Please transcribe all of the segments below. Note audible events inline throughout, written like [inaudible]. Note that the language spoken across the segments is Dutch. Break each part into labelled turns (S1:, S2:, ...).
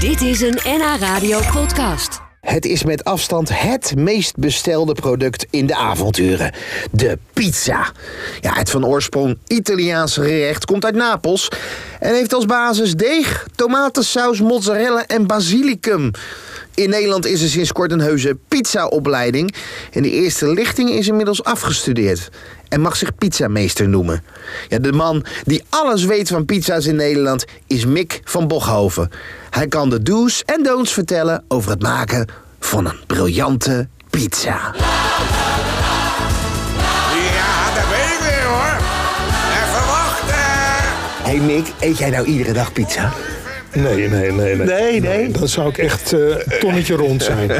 S1: Dit is een NH Radio podcast.
S2: Het is met afstand het meest bestelde product in de avonturen. De pizza. Ja, het van oorsprong Italiaanse gerecht komt uit Napels... en heeft als basis deeg, tomatensaus, mozzarella en basilicum. In Nederland is er sinds kort een heuse pizzaopleiding... en de eerste lichting is inmiddels afgestudeerd... en mag zich pizzameester noemen. Ja, de man die alles weet van pizza's in Nederland is Mick van Bochhoven. Hij kan de do's en don'ts vertellen over het maken van een briljante pizza.
S3: Ja, daar ben ik weer hoor. eh, Even wachten.
S2: Hey Mick, eet jij nou iedere dag pizza?
S4: Nee, nee, nee. Nee,
S2: Nee, nee.
S4: Dan zou ik echt eh, een tonnetje rond
S2: [laughs]
S4: zijn.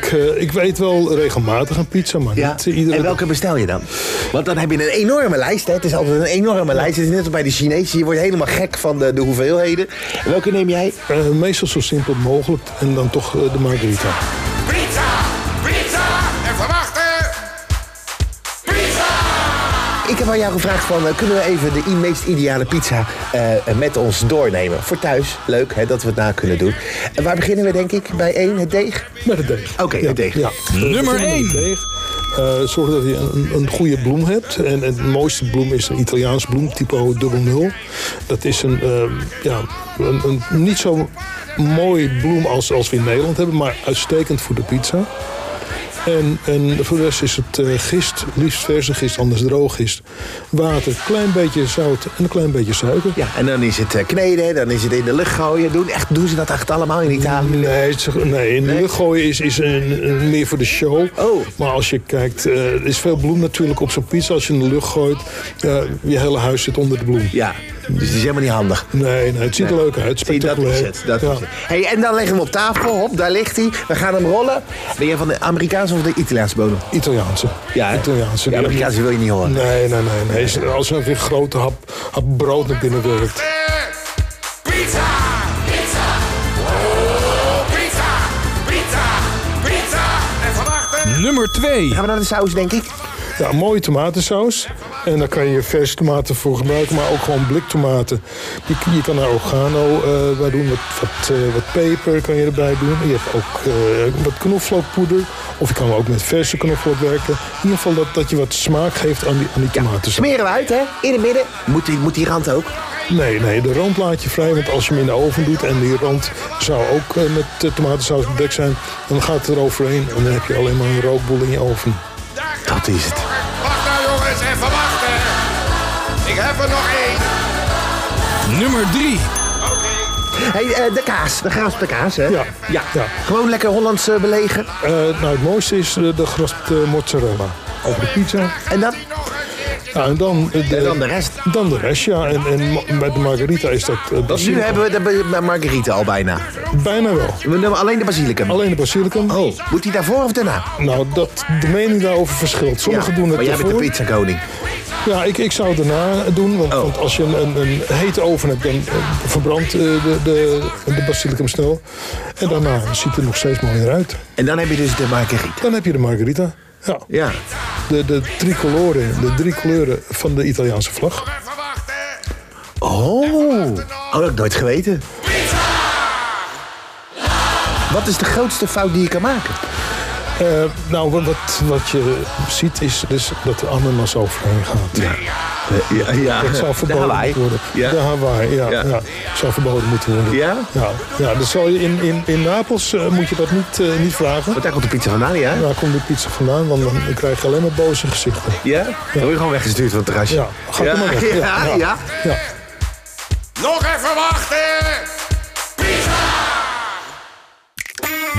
S4: ik, eh, ik weet wel regelmatig een pizza, maar
S2: Ja.
S4: niet eh, iedere
S2: en welke bestel je dan? Want dan heb je een enorme lijst. Hè? Het is altijd een enorme lijst. Het is net als bij de Chinezen. Je wordt helemaal gek van de, de hoeveelheden. En welke neem jij?
S4: dag. Eh, meestal zo simpel mogelijk en dan toch eh, de margarita.
S3: Pizza, pizza, eh, even wachten. Pizza.
S2: Ik heb aan jou gevraagd van, eh, kunnen we even de i- meest ideale pizza eh, eh, met ons doornemen? Voor thuis, leuk hè, dat we het na kunnen doen. En waar beginnen we denk ik? Bij één, het deeg?
S4: Met het deeg.
S2: Oké,
S4: ja,
S2: het deeg.
S4: Ja.
S5: Nummer één.
S4: deeg. Eh, zorg dat je een, een goede bloem hebt. En het mooiste bloem is een Italiaans bloem, typo 00. Dat is een, eh, ja, een, een niet zo mooi bloem als, als we in Nederland hebben, maar uitstekend voor de pizza. En, en voor de rest is het eh, gist, liefst verse gist, anders droog gist. Water, klein beetje zout en een klein beetje suiker.
S2: Ja, en dan is het eh, kneden, dan is het in de lucht gooien. Doen, echt, doen ze dat echt allemaal in Italië?
S4: Nee, het is- nee in de lucht gooien is, is een, een- meer voor de show.
S2: Oh.
S4: Maar als je kijkt, eh, er is veel bloem natuurlijk op zo'n pizza. Als je in de lucht gooit, eh, je hele huis zit onder de bloem.
S2: Ja, dus het is helemaal niet handig.
S4: Nee, nee, het ziet er leuk uit.
S2: Zie, dat
S4: Spectaculair.
S2: is het. Dat
S4: Ja.
S2: is het. Hey, en dan leggen we hem op tafel. Hop, daar ligt hij. We gaan hem rollen. Ben jij van de Amerikaanse of de Italiaanse bodem?
S4: Italiaanse.
S2: Ja, hè?
S4: Italiaanse.
S2: Ja,
S4: Die-
S2: Amerikaanse wil je niet horen.
S4: Nee, nee, nee. nee. Is- Als er weer een grote hap, hap brood naar binnen werkt.
S3: Pizza, pizza. Oh, pizza, pizza, pizza, eh, even wachten.
S5: Nummer 2.
S2: Gaan we naar de saus, denk ik?
S4: Ja, een mooie tomatensaus. En daar kan je verse tomaten voor gebruiken, maar ook gewoon bliktomaten. Je, je kan daar organo eh, bij doen, wat, wat, eh, wat peper kan je erbij doen. Je hebt ook eh, wat knoflookpoeder. Of je kan ook met verse knoflook werken. In ieder geval dat, dat je wat smaak geeft aan die, aan die tomatensaus.
S2: Smeren we uit, hè? In het midden. Moet die, moet die rand ook?
S4: Nee, nee, de rand laat je vrij, want als je hem in de oven doet... en die rand zou ook eh, met eh, tomatensaus bedekt zijn... dan gaat het er overheen en dan heb je alleen maar een rookboel in je oven.
S2: Dat is het.
S3: Wacht nou jongens, even wachten. Ik heb er nog één.
S5: Nummer 3.
S3: Oké.
S2: hey, eh, de kaas. De graspte kaas, hè?
S4: Ja.
S2: ja.
S4: Ja.
S2: Gewoon lekker Hollands eh, belegen.
S4: Eh, nou, het mooiste is de, de geraspte mozzarella. Over de pizza.
S2: En dan?
S3: Nog een keertje.
S4: Ja, en dan, eh,
S2: En dan de rest.
S4: Dan de rest, ja. En, en ma- bij de margarita is dat... eh,
S2: Nu
S4: basilicum.
S2: hebben we de ba- margarita al bijna.
S4: Bijna wel.
S2: We nemen alleen de basilicum.
S4: Alleen de basilicum.
S2: Oh, moet die daarvoor of daarna?
S4: Nou, dat, de mening daarover verschilt. Sommigen doen het
S2: maar jij bent de
S4: ervoor.
S2: pizza koning.
S4: Ja, ik, ik zou het daarna doen. Want,
S2: Oh.
S4: want als je een, een, een hete oven hebt, dan eh, verbrandt eh, de, de, de basilicum snel. En daarna ziet het er nog steeds mooier uit.
S2: En dan heb je dus de margarita.
S4: Dan heb je de margarita. Ja.
S2: Ja.
S4: De, de tricolore, de drie kleuren van de Italiaanse vlag.
S3: Even wachten.
S2: Oh. Oh, dat heb ik nooit geweten. Wat is de grootste fout die je kan maken?
S4: Eh, nou, wat- wat, wat je ziet is dus dat de ananas overheen gaat.
S2: Ja, ja.
S4: Dat [laughs] zou verboden moeten worden. De Hawaii, ja,
S2: Ja.
S4: ja. Zou verboden moeten worden.
S2: Ja?
S4: Ja, ja dat zal je in, in, in Napels eh, moet je dat niet, eh, niet vragen.
S2: Want daar komt de pizza vandaan, ja?
S4: Waar komt de pizza vandaan? Want dan krijg je alleen maar boze gezichten.
S2: Ja? Dan word je gewoon weggestuurd van het terrasje.
S4: Ja, gaat er maar weg.
S2: Ja, ja.
S4: ja. ja.
S3: Nog even wachten.